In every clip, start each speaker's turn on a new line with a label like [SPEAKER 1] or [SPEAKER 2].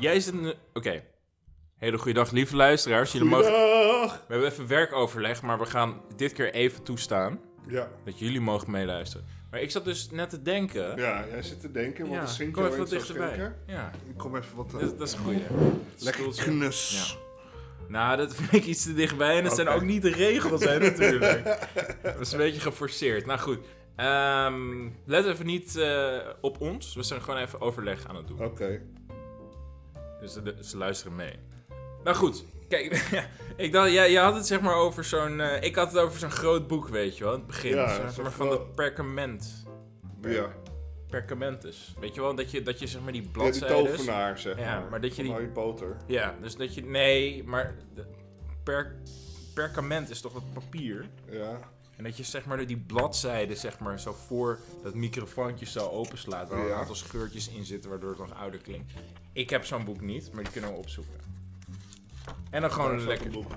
[SPEAKER 1] Jij zit nu... Oké. Hele goede dag, lieve luisteraars. Jullie mogen...
[SPEAKER 2] Goedendag!
[SPEAKER 1] We hebben even werkoverleg, maar we gaan dit keer even toestaan
[SPEAKER 2] Ja.
[SPEAKER 1] dat jullie mogen meeluisteren. Maar ik zat dus net te denken...
[SPEAKER 2] ja, jij zit te denken, want
[SPEAKER 1] Ja,
[SPEAKER 2] de Sintjo
[SPEAKER 1] kom even wat
[SPEAKER 2] eens aan het
[SPEAKER 1] dichterbij.
[SPEAKER 2] kijken.
[SPEAKER 1] Ja,
[SPEAKER 2] Ik kom even wat... eh,
[SPEAKER 1] dat, dat is een goeie.
[SPEAKER 2] lekker
[SPEAKER 1] Stoeltje.
[SPEAKER 2] knus.
[SPEAKER 1] Ja. Nou, dat vind ik iets te dichtbij. En dat zijn
[SPEAKER 2] Oké.
[SPEAKER 1] ook niet de regels, hè, natuurlijk. dat is een beetje geforceerd. Nou goed. Ehm, let even niet eh, op ons. We zijn gewoon even overleg aan het doen.
[SPEAKER 2] Oké.
[SPEAKER 1] Dus de- ze luisteren mee. Nou goed, kijk, ik dacht, jij, jij had het zeg maar over zo'n. eh, ik had het over zo'n groot boek, weet je wel, in het begin.
[SPEAKER 2] Ja,
[SPEAKER 1] Zeg
[SPEAKER 2] zo'n
[SPEAKER 1] maar van dat
[SPEAKER 2] groot-
[SPEAKER 1] perkament.
[SPEAKER 2] Ja.
[SPEAKER 1] Perkamentus. Weet je wel, dat je, dat je zeg maar die
[SPEAKER 2] ja, die
[SPEAKER 1] bladzijden.
[SPEAKER 2] tovenaar, zeg maar.
[SPEAKER 1] Ja, maar dat je
[SPEAKER 2] van
[SPEAKER 1] die-
[SPEAKER 2] Harry Potter.
[SPEAKER 1] Ja, dus dat je. Nee, maar. de- Per, perkament is toch dat papier?
[SPEAKER 2] Ja.
[SPEAKER 1] En dat je zeg maar door die bladzijden zeg maar zo voor dat microfoontje zo openslaat. Waar een
[SPEAKER 2] Ja.
[SPEAKER 1] aantal scheurtjes in zitten waardoor het nog ouder klinkt. Ik heb zo'n boek niet, maar die kunnen we opzoeken. En dan gewoon
[SPEAKER 2] Daar
[SPEAKER 1] een
[SPEAKER 2] staat
[SPEAKER 1] lekker
[SPEAKER 2] een boek.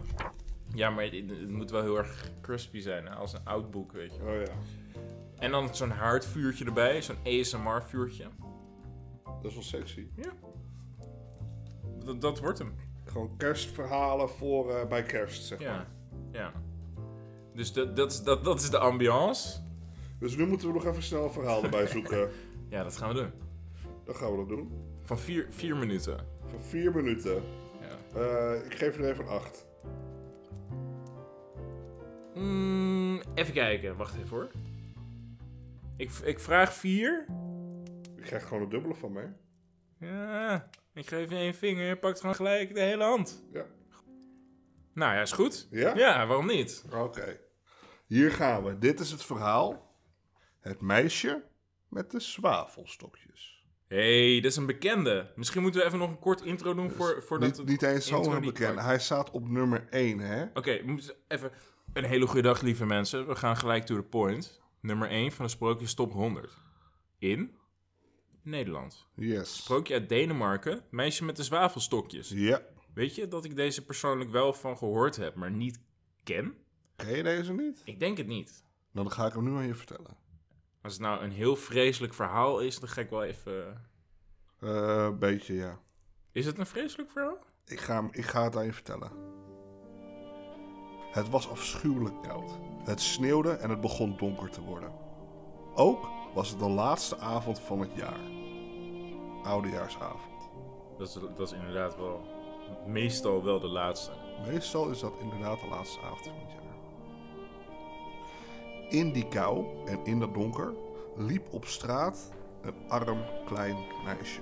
[SPEAKER 1] Ja, maar het, het moet wel heel erg crispy zijn, hè? als een oud boek, weet je.
[SPEAKER 2] Oh ja.
[SPEAKER 1] En dan zo'n haardvuurtje erbij, zo'n ASMR-vuurtje.
[SPEAKER 2] Dat is wel sexy.
[SPEAKER 1] Dat, dat wordt hem.
[SPEAKER 2] Gewoon kerstverhalen voor eh, bij kerst, zeg maar.
[SPEAKER 1] Ja, ja. Dus dat, dat, is- dat, dat is de ambiance.
[SPEAKER 2] Dus nu moeten we nog even snel een verhaal erbij zoeken.
[SPEAKER 1] Ja, dat gaan we doen.
[SPEAKER 2] Dat gaan we dat doen.
[SPEAKER 1] Van vier, vier minuten.
[SPEAKER 2] Voor vier minuten.
[SPEAKER 1] Ja.
[SPEAKER 2] Eh, ik geef er even een acht.
[SPEAKER 1] Mm, even kijken, wacht even hoor. Ik, ik vraag vier.
[SPEAKER 2] Ik krijg gewoon het dubbele van mij.
[SPEAKER 1] Ja, ik geef je één vinger, je pakt gewoon gelijk de hele hand.
[SPEAKER 2] Ja.
[SPEAKER 1] Nou ja, is goed.
[SPEAKER 2] Ja?
[SPEAKER 1] Ja, waarom niet?
[SPEAKER 2] Oké. Hier gaan we. Dit is het verhaal. Het meisje met de zwavelstokjes.
[SPEAKER 1] Hé, hey, dit is een bekende. Misschien moeten we even nog een kort intro doen voor, voordat...
[SPEAKER 2] Niet,
[SPEAKER 1] het
[SPEAKER 2] niet eens
[SPEAKER 1] intro
[SPEAKER 2] zo'n
[SPEAKER 1] niet
[SPEAKER 2] bekend.
[SPEAKER 1] pakt.
[SPEAKER 2] Hij staat op nummer 1, hè?
[SPEAKER 1] Oké, we moeten even... Een hele goede dag, lieve mensen. We gaan gelijk to the point. Nummer 1 van de Sprookjes Top 100. In Nederland.
[SPEAKER 2] Yes.
[SPEAKER 1] Sprookje uit Denemarken. Meisje met de zwavelstokjes.
[SPEAKER 2] Ja.
[SPEAKER 1] Weet je dat ik deze persoonlijk wel van gehoord heb, maar niet ken?
[SPEAKER 2] Ken je deze niet?
[SPEAKER 1] Ik denk het niet.
[SPEAKER 2] Nou, dan ga ik hem nu aan je vertellen.
[SPEAKER 1] Als het nou een heel vreselijk verhaal is, dan ga ik wel even...
[SPEAKER 2] Eh beetje, ja.
[SPEAKER 1] Is het een vreselijk verhaal?
[SPEAKER 2] Ik ga, hem- ik ga het aan je vertellen. Het was afschuwelijk koud. Het sneeuwde en het begon donker te worden. Ook was het de laatste avond van het jaar. Oudejaarsavond.
[SPEAKER 1] Dat is, dat is inderdaad wel... Meestal wel de laatste.
[SPEAKER 2] Meestal is dat inderdaad de laatste avond van het jaar. In die kou en in dat donker liep op straat een arm klein meisje.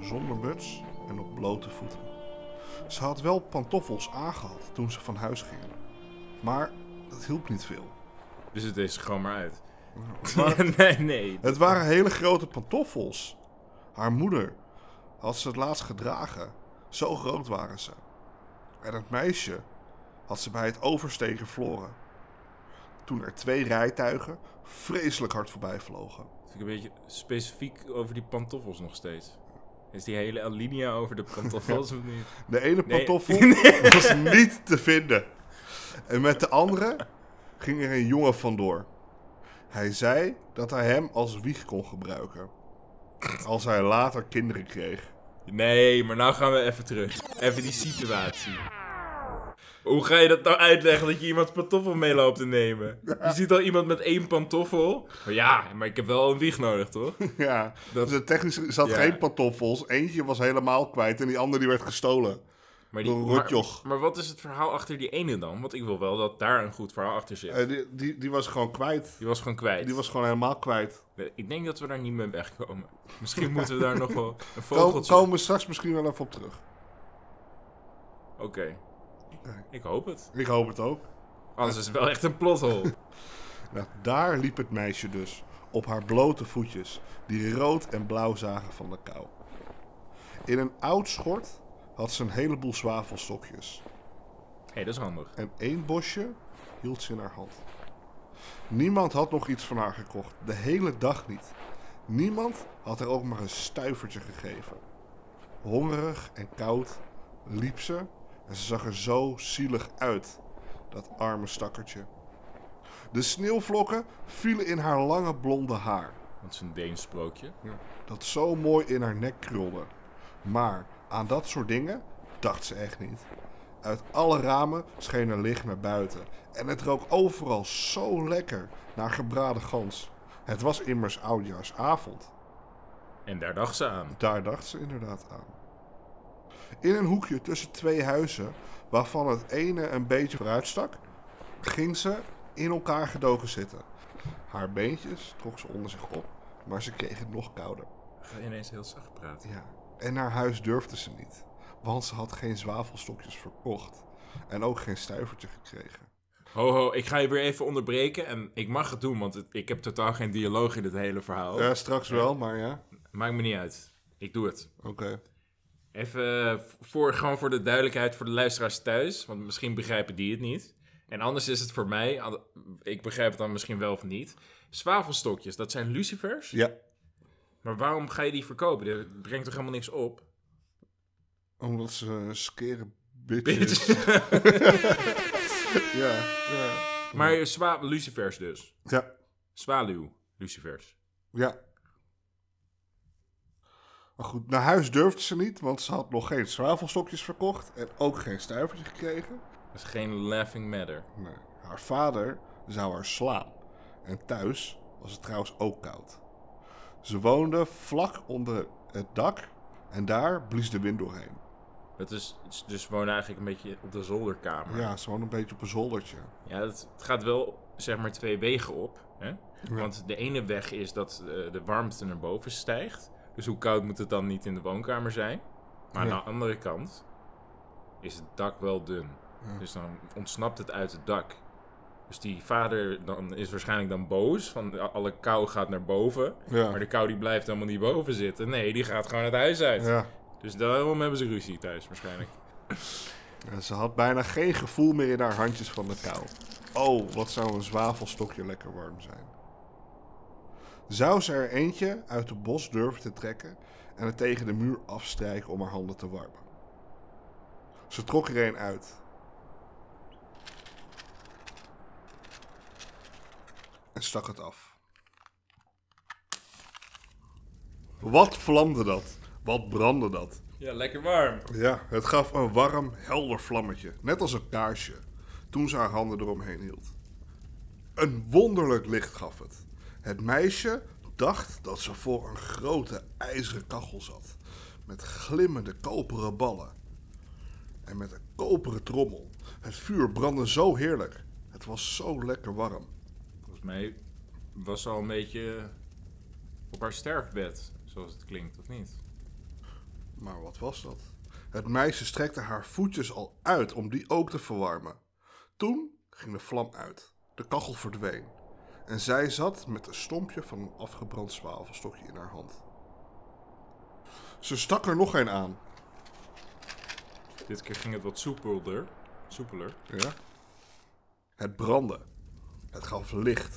[SPEAKER 2] Zonder muts en op blote voeten. Ze had wel pantoffels aangehad toen ze van huis ging. Maar dat hielp niet veel.
[SPEAKER 1] Dus het is gewoon maar uit. nee, nee.
[SPEAKER 2] Het waren hele grote pantoffels. Haar moeder had ze het laatst gedragen. Zo groot waren ze. En het meisje had ze bij het oversteken verloren. Toen er twee rijtuigen vreselijk hard voorbij vlogen.
[SPEAKER 1] Vind ik een beetje specifiek over die pantoffels nog steeds. Is die hele alinea over de pantoffels of niet?
[SPEAKER 2] De ene
[SPEAKER 1] Nee.
[SPEAKER 2] pantoffel was niet te vinden. En met de andere ging er een jongen vandoor. Hij zei dat hij hem als wieg kon gebruiken. Als hij later kinderen kreeg.
[SPEAKER 1] Nee, maar nou gaan we even terug. Even die situatie. Hoe ga je dat nou uitleggen dat je iemands pantoffel mee loopt te nemen? Je ziet al iemand met één pantoffel. Maar ja, maar ik heb wel een wieg nodig, toch?
[SPEAKER 2] Ja,
[SPEAKER 1] Dat-
[SPEAKER 2] dus technisch zat
[SPEAKER 1] Ja.
[SPEAKER 2] geen pantoffels. Eentje was helemaal kwijt en die andere die werd gestolen.
[SPEAKER 1] Maar
[SPEAKER 2] Een
[SPEAKER 1] maar,
[SPEAKER 2] rotjoch.
[SPEAKER 1] maar wat is het verhaal achter die ene dan? Want ik wil wel dat daar een goed verhaal achter zit.
[SPEAKER 2] Eh, die, die, die was gewoon kwijt.
[SPEAKER 1] Die was gewoon kwijt.
[SPEAKER 2] Die was gewoon helemaal kwijt.
[SPEAKER 1] Ik denk dat we daar niet mee wegkomen. Misschien moeten we daar nog wel een
[SPEAKER 2] Daar
[SPEAKER 1] vogeltje...
[SPEAKER 2] komen we straks misschien wel even op terug.
[SPEAKER 1] Oké. Ik hoop het.
[SPEAKER 2] Ik hoop het ook.
[SPEAKER 1] Anders is het wel echt een plothol.
[SPEAKER 2] Nou, daar liep het meisje dus, op haar blote voetjes, die rood en blauw zagen van de kou. In een oud schort had ze een heleboel zwavelstokjes.
[SPEAKER 1] Hé, hey, dat is handig.
[SPEAKER 2] En één bosje hield ze in haar hand. Niemand had nog iets van haar gekocht, de hele dag niet. Niemand had haar ook maar een stuivertje gegeven. Hongerig en koud liep ze en ze zag er zo zielig uit, dat arme stakkertje. De sneeuwvlokken vielen in haar lange blonde haar,
[SPEAKER 1] Want het is een Deens sprookje.
[SPEAKER 2] dat zo mooi in haar nek krulde. Maar Aan dat soort dingen dacht ze echt niet. Uit alle ramen scheen er licht naar buiten. En het rook overal zo lekker naar gebraden gans. Het was immers oudjaarsavond.
[SPEAKER 1] En daar dacht ze aan.
[SPEAKER 2] Daar dacht ze inderdaad aan. In een hoekje tussen twee huizen, waarvan het ene een beetje vooruit stak, ging ze in elkaar gedoken zitten. Haar beentjes trok ze onder zich op, maar ze kreeg het nog kouder.
[SPEAKER 1] Ga ineens heel zacht praten.
[SPEAKER 2] Ja, en naar huis durfde ze niet, want ze had geen zwavelstokjes verkocht en ook geen stuivertje gekregen.
[SPEAKER 1] Ho, ho, ik ga je weer even onderbreken. En ik mag het doen, want het- ik heb totaal geen dialoog in dit hele verhaal.
[SPEAKER 2] Oh, Ja, straks wel, maar ja.
[SPEAKER 1] Maakt me niet uit. Ik doe het.
[SPEAKER 2] Oké.
[SPEAKER 1] Even eh, voor, gewoon voor de duidelijkheid voor de luisteraars thuis. Want misschien begrijpen die het niet. En anders is het voor mij, al- ik begrijp het dan misschien wel of niet. Zwavelstokjes, dat zijn lucifers.
[SPEAKER 2] Ja,
[SPEAKER 1] Maar waarom ga je die verkopen? Dat brengt toch helemaal niks op?
[SPEAKER 2] omdat ze een skere bitch is.
[SPEAKER 1] Bitch.
[SPEAKER 2] Ja, ja.
[SPEAKER 1] maar zwa lucifers dus.
[SPEAKER 2] Ja,
[SPEAKER 1] Zwaluw, lucifers.
[SPEAKER 2] ja. Maar goed, naar huis durfde ze niet, want ze had nog geen zwavelstokjes verkocht en ook geen stuivertje gekregen.
[SPEAKER 1] Dat is geen laughing matter.
[SPEAKER 2] Nee. Haar vader zou haar slaan. En thuis was het trouwens ook koud. Ze woonde vlak onder het dak en daar blies de wind doorheen.
[SPEAKER 1] Dat is, het is dus gewoon eigenlijk een beetje op de zolderkamer.
[SPEAKER 2] Ja, ze woonde een beetje op een zoldertje.
[SPEAKER 1] Ja, dat, het gaat wel zeg maar twee wegen op. Hè? Want de ene weg is dat eh, de warmte naar boven stijgt. Dus hoe koud moet het dan niet in de woonkamer zijn? Maar
[SPEAKER 2] Ja.
[SPEAKER 1] aan de andere kant is het dak wel dun. Dus dan ontsnapt het uit het dak. Dus die vader dan is waarschijnlijk dan boos. Van a- alle kou gaat naar boven.
[SPEAKER 2] Ja.
[SPEAKER 1] Maar de kou die blijft helemaal niet boven zitten. Nee, die gaat gewoon het huis uit.
[SPEAKER 2] Ja.
[SPEAKER 1] Dus daarom hebben ze ruzie thuis waarschijnlijk.
[SPEAKER 2] En Eh, ze had bijna geen gevoel meer in haar handjes van de kou. Oh, wat zou een zwavelstokje lekker warm zijn. Zou ze er eentje uit het bos durven te trekken en het tegen de muur afstrijken om haar handen te warmen? Ze trok er een uit. En stak het af. Wat vlamde dat? Wat brandde dat?
[SPEAKER 1] Ja, lekker warm.
[SPEAKER 2] Ja, het gaf een warm, helder vlammetje, net als een kaarsje, toen ze haar handen eromheen hield. Een wonderlijk licht gaf het. Het meisje dacht dat ze voor een grote ijzeren kachel zat, met glimmende koperen ballen en met een koperen trommel. Het vuur brandde zo heerlijk. Het was zo lekker warm.
[SPEAKER 1] Volgens mij was ze al een beetje op haar sterfbed, zoals het klinkt, of niet?
[SPEAKER 2] Maar wat was dat? Het meisje strekte haar voetjes al uit om die ook te verwarmen. Toen ging de vlam uit, de kachel verdween. En zij zat met een stompje van een afgebrand zwavelstokje in haar hand. Ze stak er nog een aan.
[SPEAKER 1] Dit keer ging het wat soepelder. Soepeler.
[SPEAKER 2] Ja? Het brandde. Het gaf licht.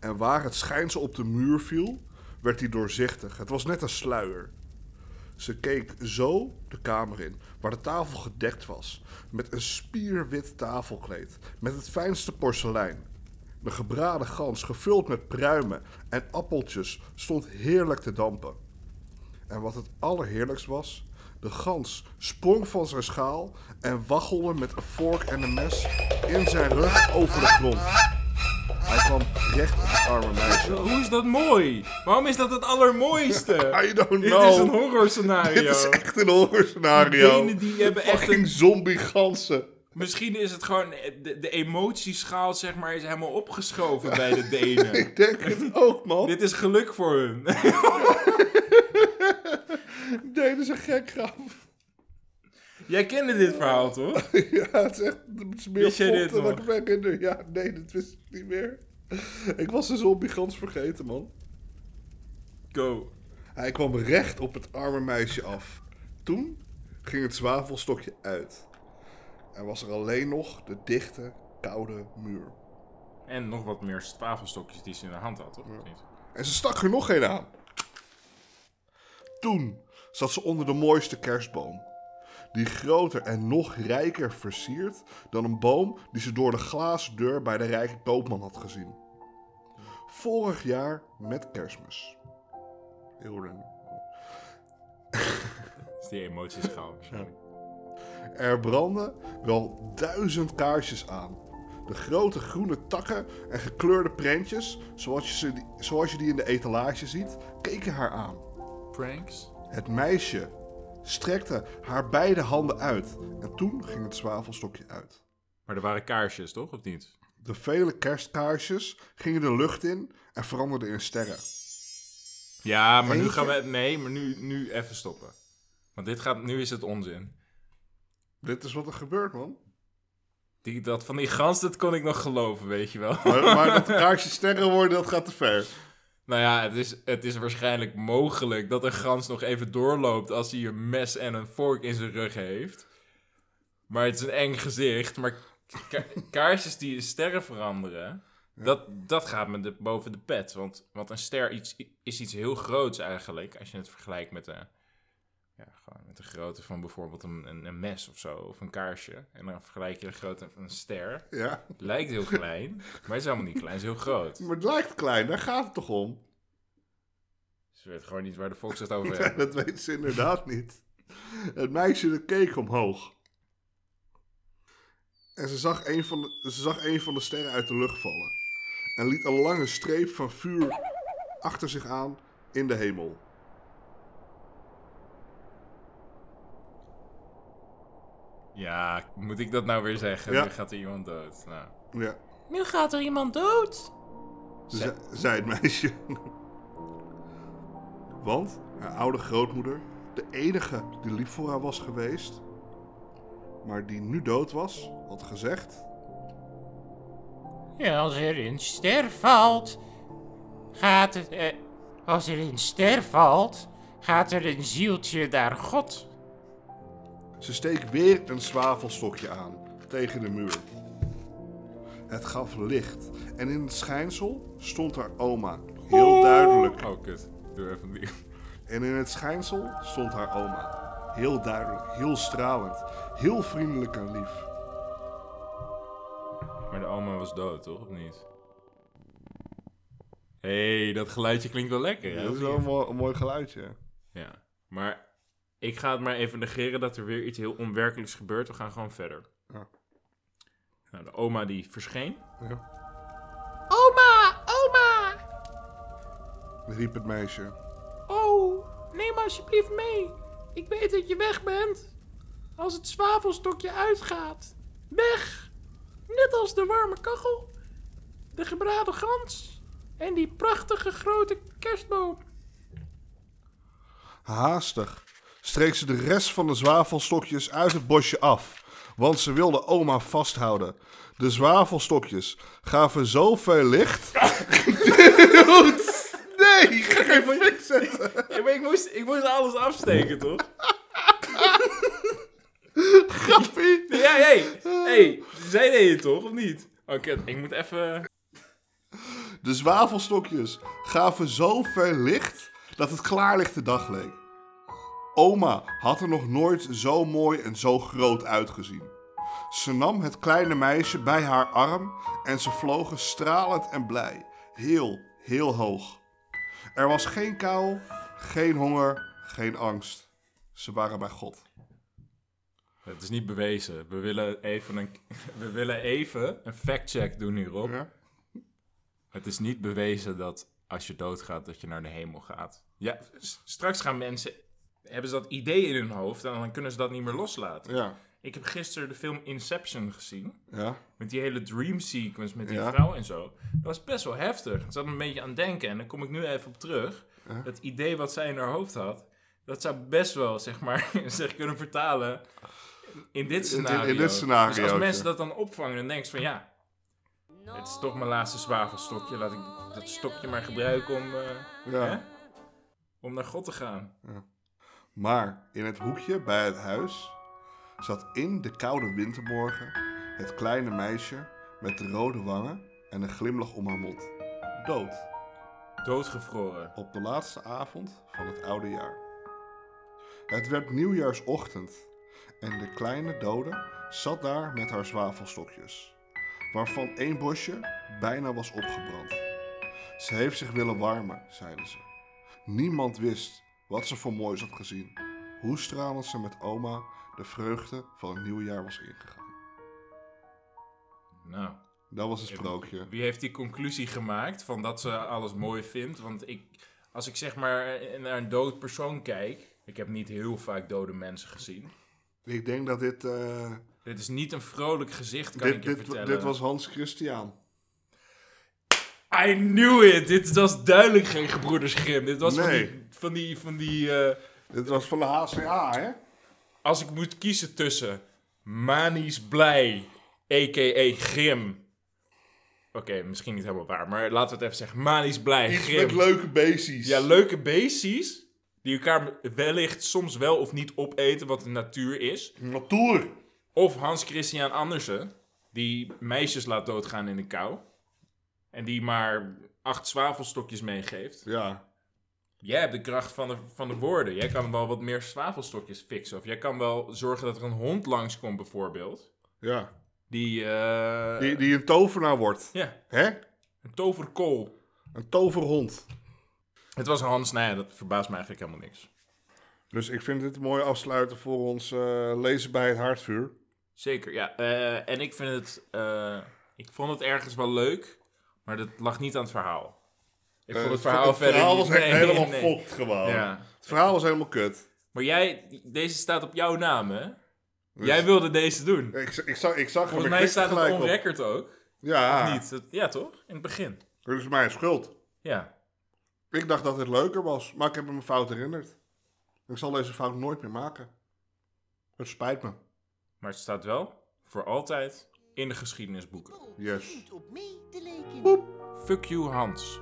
[SPEAKER 2] En waar het schijnsel op de muur viel, werd die doorzichtig. Het was net een sluier. Ze keek zo de kamer in, waar de tafel gedekt was. Met een spierwit tafelkleed, met het fijnste porselein. De gebraden gans, gevuld met pruimen en appeltjes, stond heerlijk te dampen. En wat het allerheerlijkst was, de gans sprong van zijn schaal en waggelde met een vork en een mes in zijn rug over de grond. Hij kwam recht op het arme meisje.
[SPEAKER 1] Hoe is dat mooi? Waarom is dat het allermooiste?
[SPEAKER 2] I don't
[SPEAKER 1] Dit
[SPEAKER 2] know.
[SPEAKER 1] is een horror
[SPEAKER 2] Dit
[SPEAKER 1] scenario.
[SPEAKER 2] is echt een horrorscenario.
[SPEAKER 1] Die benen die hebben echt
[SPEAKER 2] Fucking
[SPEAKER 1] een-
[SPEAKER 2] zombie ganzen.
[SPEAKER 1] Misschien is het gewoon, eh, de, de emotieschaal zeg maar is helemaal opgeschoven bij de Denen.
[SPEAKER 2] Ik denk het ook, man. Dit
[SPEAKER 1] Dit is geluk voor hun.
[SPEAKER 2] deden ze gek grap.
[SPEAKER 1] Jij kende dit verhaal toch?
[SPEAKER 2] ja, het is echt het is meer
[SPEAKER 1] Wist jij dit
[SPEAKER 2] fot dan
[SPEAKER 1] nog?
[SPEAKER 2] ik ben in de- Ja, nee, dat wist ik niet meer. Ik was de zombie gans vergeten, man.
[SPEAKER 1] Go.
[SPEAKER 2] Hij kwam recht op het arme meisje af. Toen ging het zwavelstokje uit. En was er alleen nog de dichte, koude muur.
[SPEAKER 1] En nog wat meer zwavelstokjes die ze in de hand had, toch? Of niet?
[SPEAKER 2] En ze stak er nog geen aan. Toen zat ze onder de mooiste kerstboom. Die groter en nog rijker versierd dan een boom die ze door de glazen deur bij de rijke koopman had gezien. Vorig jaar met kerstmis. Heel random.
[SPEAKER 1] die emoties gaan waarschijnlijk.
[SPEAKER 2] Er brandden wel duizend kaarsjes aan. De grote groene takken en gekleurde prentjes, zoals je, ze, zoals je die in de etalage ziet, keken haar aan.
[SPEAKER 3] Pranks?
[SPEAKER 2] Het meisje strekte haar beide handen uit en toen ging het zwavelstokje uit.
[SPEAKER 1] Maar er waren kaarsjes, toch? Of niet?
[SPEAKER 2] De vele kerstkaarsjes gingen de lucht in en veranderden in sterren.
[SPEAKER 1] Ja, maar nu
[SPEAKER 2] Eentje?
[SPEAKER 1] gaan we... e- Nee, maar nu, nu even stoppen. Want dit gaat... Nu is het onzin.
[SPEAKER 2] Dit is wat er gebeurt, man.
[SPEAKER 1] Die, dat van die gans, dat kon ik nog geloven, weet je wel.
[SPEAKER 2] Maar, maar dat de kaarsjes sterren worden, dat gaat te ver.
[SPEAKER 1] Nou ja, het is, het is waarschijnlijk mogelijk dat een gans nog even doorloopt als hij een mes en een vork in zijn rug heeft. Maar het is een eng gezicht. Maar ka- kaarsjes die in sterren veranderen, dat, dat gaat me de, boven de pet. Want, want een ster iets, is iets heel groots eigenlijk, als je het vergelijkt met de, ja, gewoon met de grootte van bijvoorbeeld een, een, een mes of zo, of een kaarsje. En dan vergelijk je de grootte van een ster.
[SPEAKER 2] Ja.
[SPEAKER 1] Het lijkt heel klein, maar het is helemaal niet klein, het is heel groot. Dus
[SPEAKER 2] Maar het lijkt klein, daar gaat het toch om?
[SPEAKER 1] Ze weet gewoon niet waar de volks het over
[SPEAKER 2] Ja,
[SPEAKER 1] hebben.
[SPEAKER 2] dat weet ze inderdaad niet. Het meisje dat keek omhoog. En ze zag, een van de, ze zag een van de sterren uit de lucht vallen. En liet een lange streep van vuur achter zich aan in de hemel.
[SPEAKER 1] Ja, moet ik dat nou weer zeggen?
[SPEAKER 2] Ja.
[SPEAKER 1] Nu gaat er iemand dood. Nou.
[SPEAKER 2] Ja,
[SPEAKER 1] Nu gaat er iemand dood.
[SPEAKER 2] ze- zei het meisje. Want haar oude grootmoeder, de enige die lief voor haar was geweest, maar die nu dood was, had gezegd.
[SPEAKER 4] Ja, als er een ster valt, gaat het. eh, als er een ster valt, gaat er een zieltje naar God.
[SPEAKER 2] Ze steekt weer een zwavelstokje aan tegen de muur. Het gaf licht en in het schijnsel stond haar oma. Heel duidelijk.
[SPEAKER 1] Oh, kut. Doe even opnieuw.
[SPEAKER 2] En in het schijnsel stond haar oma. Heel duidelijk, heel stralend, heel vriendelijk en lief.
[SPEAKER 1] Maar de oma was dood, toch? Of niet? Hé, hey, dat geluidje klinkt wel lekker, hè?
[SPEAKER 2] dat
[SPEAKER 1] of
[SPEAKER 2] is wel een
[SPEAKER 1] niet?
[SPEAKER 2] mooi, een mooi geluidje.
[SPEAKER 1] Ja. Maar ik ga het maar even negeren dat er weer iets heel onwerkelijks gebeurt. We gaan gewoon verder.
[SPEAKER 2] Ja.
[SPEAKER 1] Nou, de oma die verscheen.
[SPEAKER 2] Ja,
[SPEAKER 4] Oma, oma!
[SPEAKER 2] riep het meisje.
[SPEAKER 4] Oh, neem alsjeblieft mee. Ik weet dat je weg bent. Als het zwavelstokje uitgaat. Weg! Net als de warme kachel, de gebraden gans en die prachtige grote kerstboom.
[SPEAKER 2] Haastig streek ze de rest van de zwavelstokjes uit het bosje af, want ze wilde oma vasthouden. De zwavelstokjes gaven zoveel licht. Dude, nee, ik ga geen fik zetten.
[SPEAKER 1] Ja, maar ik moest, ik moest alles afsteken, toch?
[SPEAKER 2] Grappie.
[SPEAKER 1] Ja, hé. Hé, zij deed het toch, of niet? Oké, ik moet even...
[SPEAKER 2] De zwavelstokjes gaven zoveel licht dat het klaarlichte dag leek. Oma had er nog nooit zo mooi en zo groot uitgezien. Ze nam het kleine meisje bij haar arm en ze vlogen stralend en blij, heel, heel hoog. Er was geen kou, geen honger, geen angst. Ze waren bij God.
[SPEAKER 1] Het is niet bewezen. We willen even een, we willen even een fact-check doen hierop. Het is niet bewezen dat als je doodgaat, dat je naar de hemel gaat. Ja, s- straks gaan mensen... Hebben ze dat idee in hun hoofd en dan kunnen ze dat niet meer loslaten.
[SPEAKER 2] Ja.
[SPEAKER 1] Ik heb gisteren de film Inception gezien.
[SPEAKER 2] Ja.
[SPEAKER 1] Met die hele dream sequence met die
[SPEAKER 2] Ja.
[SPEAKER 1] vrouw en zo. Dat was best wel heftig. Dat zat me een beetje aan het denken. En daar kom ik nu even op terug. Dat idee wat zij in haar hoofd had. Dat zou best wel, zeg maar, zich kunnen vertalen in dit
[SPEAKER 2] in
[SPEAKER 1] scenario.
[SPEAKER 2] dit
[SPEAKER 1] Dus
[SPEAKER 2] scenariootje.
[SPEAKER 1] als mensen dat dan opvangen, dan denk je van ja... Het is toch mijn laatste zwavelstokje. Laat ik dat stokje maar gebruiken om, eh,
[SPEAKER 2] Ja.
[SPEAKER 1] hè? om naar God te gaan.
[SPEAKER 2] Maar in het hoekje bij het huis zat in de koude wintermorgen het kleine meisje met de rode wangen en een glimlach om haar mond. Dood
[SPEAKER 1] Doodgevroren.
[SPEAKER 2] op de laatste avond van het oude jaar. Het werd nieuwjaarsochtend en de kleine dode zat daar met haar zwavelstokjes, waarvan één bosje bijna was opgebrand. Ze heeft zich willen warmen, zeiden ze. Niemand wist wat ze voor moois had gezien, hoestralend ze met oma de vreugde van het nieuwe jaar was ingegaan.
[SPEAKER 1] Nou.
[SPEAKER 2] Dat was een sprookje.
[SPEAKER 1] Wie heeft die conclusie gemaakt van dat ze alles mooi vindt? Want ik, als ik zeg maar naar een dood persoon kijk, ik heb niet heel vaak dode mensen gezien.
[SPEAKER 2] Ik denk dat dit, eh,
[SPEAKER 1] Dit is niet een vrolijk gezicht, kan
[SPEAKER 2] dit,
[SPEAKER 1] ik je
[SPEAKER 2] dit,
[SPEAKER 1] vertellen.
[SPEAKER 2] dit was Hans Christian.
[SPEAKER 1] I knew it! Dit was duidelijk geen gebroeders Grimm. Dit was
[SPEAKER 2] Nee.
[SPEAKER 1] van die... Van die, van die eh,
[SPEAKER 2] Dit was van de HCA, hè?
[SPEAKER 1] als ik moet kiezen tussen Manisch Blij, a.k.a. Grim. Oké, misschien niet helemaal waar, maar laten we het even zeggen. Manisch Blij,
[SPEAKER 2] Iets
[SPEAKER 1] Grim.
[SPEAKER 2] met leuke beestjes.
[SPEAKER 1] Ja, leuke beestjes. Die elkaar wellicht soms wel of niet opeten, wat de natuur is.
[SPEAKER 2] Natuur.
[SPEAKER 1] Of Hans Christian Andersen, die meisjes laat doodgaan in de kou. En die maar acht zwavelstokjes meegeeft.
[SPEAKER 2] Ja.
[SPEAKER 1] Jij hebt de kracht van de, van de woorden. Jij kan wel wat meer zwavelstokjes fixen. Of jij kan wel zorgen dat er een hond langskomt, bijvoorbeeld.
[SPEAKER 2] Ja.
[SPEAKER 1] Die, eh,
[SPEAKER 2] Die, die een tovenaar wordt.
[SPEAKER 1] Ja,
[SPEAKER 2] Hè?
[SPEAKER 1] een toverkool.
[SPEAKER 2] Een toverhond.
[SPEAKER 1] Het was Hans, nou ja, dat verbaast me eigenlijk helemaal niks.
[SPEAKER 2] Dus ik vind dit een mooi afsluiten voor ons eh, lezen bij het haardvuur.
[SPEAKER 1] Zeker, ja. Eh, en ik vind het... eh, ik vond het ergens wel leuk, maar dat lag niet aan het verhaal. Ik vond het verhaal
[SPEAKER 2] Eh, het
[SPEAKER 1] verder
[SPEAKER 2] verhaal
[SPEAKER 1] niet-
[SPEAKER 2] was echt
[SPEAKER 1] nee,
[SPEAKER 2] helemaal
[SPEAKER 1] nee.
[SPEAKER 2] fokt gewoon.
[SPEAKER 1] Ja.
[SPEAKER 2] Het verhaal was helemaal kut.
[SPEAKER 1] Maar jij... Deze staat op jouw naam, hè? Jij wilde deze doen.
[SPEAKER 2] Ik, ik, zag, Dus- ik zag
[SPEAKER 1] Volgens
[SPEAKER 2] hem
[SPEAKER 1] mij
[SPEAKER 2] ik klikte
[SPEAKER 1] staat het
[SPEAKER 2] gelijk
[SPEAKER 1] on
[SPEAKER 2] op.
[SPEAKER 1] record ook.
[SPEAKER 2] Ja,
[SPEAKER 1] Niet? Dat- ja, toch? In het begin.
[SPEAKER 2] dat is mijn schuld.
[SPEAKER 1] Ja.
[SPEAKER 2] Ik dacht dat dit leuker was, maar ik heb me mijn fout herinnerd. Ik zal deze fout nooit meer maken. Het spijt me.
[SPEAKER 1] Maar het staat wel voor altijd in de geschiedenisboeken.
[SPEAKER 2] Yes.
[SPEAKER 3] Niet op mee te lijken.
[SPEAKER 1] Fuck you, Hans.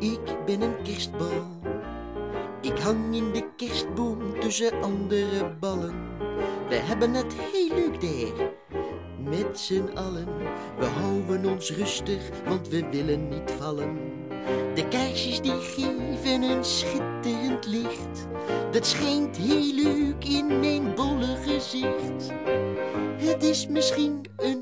[SPEAKER 3] Ik ben een kerstbal. Ik hang in de kerstboom tussen andere ballen. We hebben het heel leuk daar. Met z'n allen. We houden ons rustig, want we willen niet vallen. De kaarsjes die geven een schitterend licht. Dat schijnt heel leuk in mijn bolle gezicht. Het is misschien een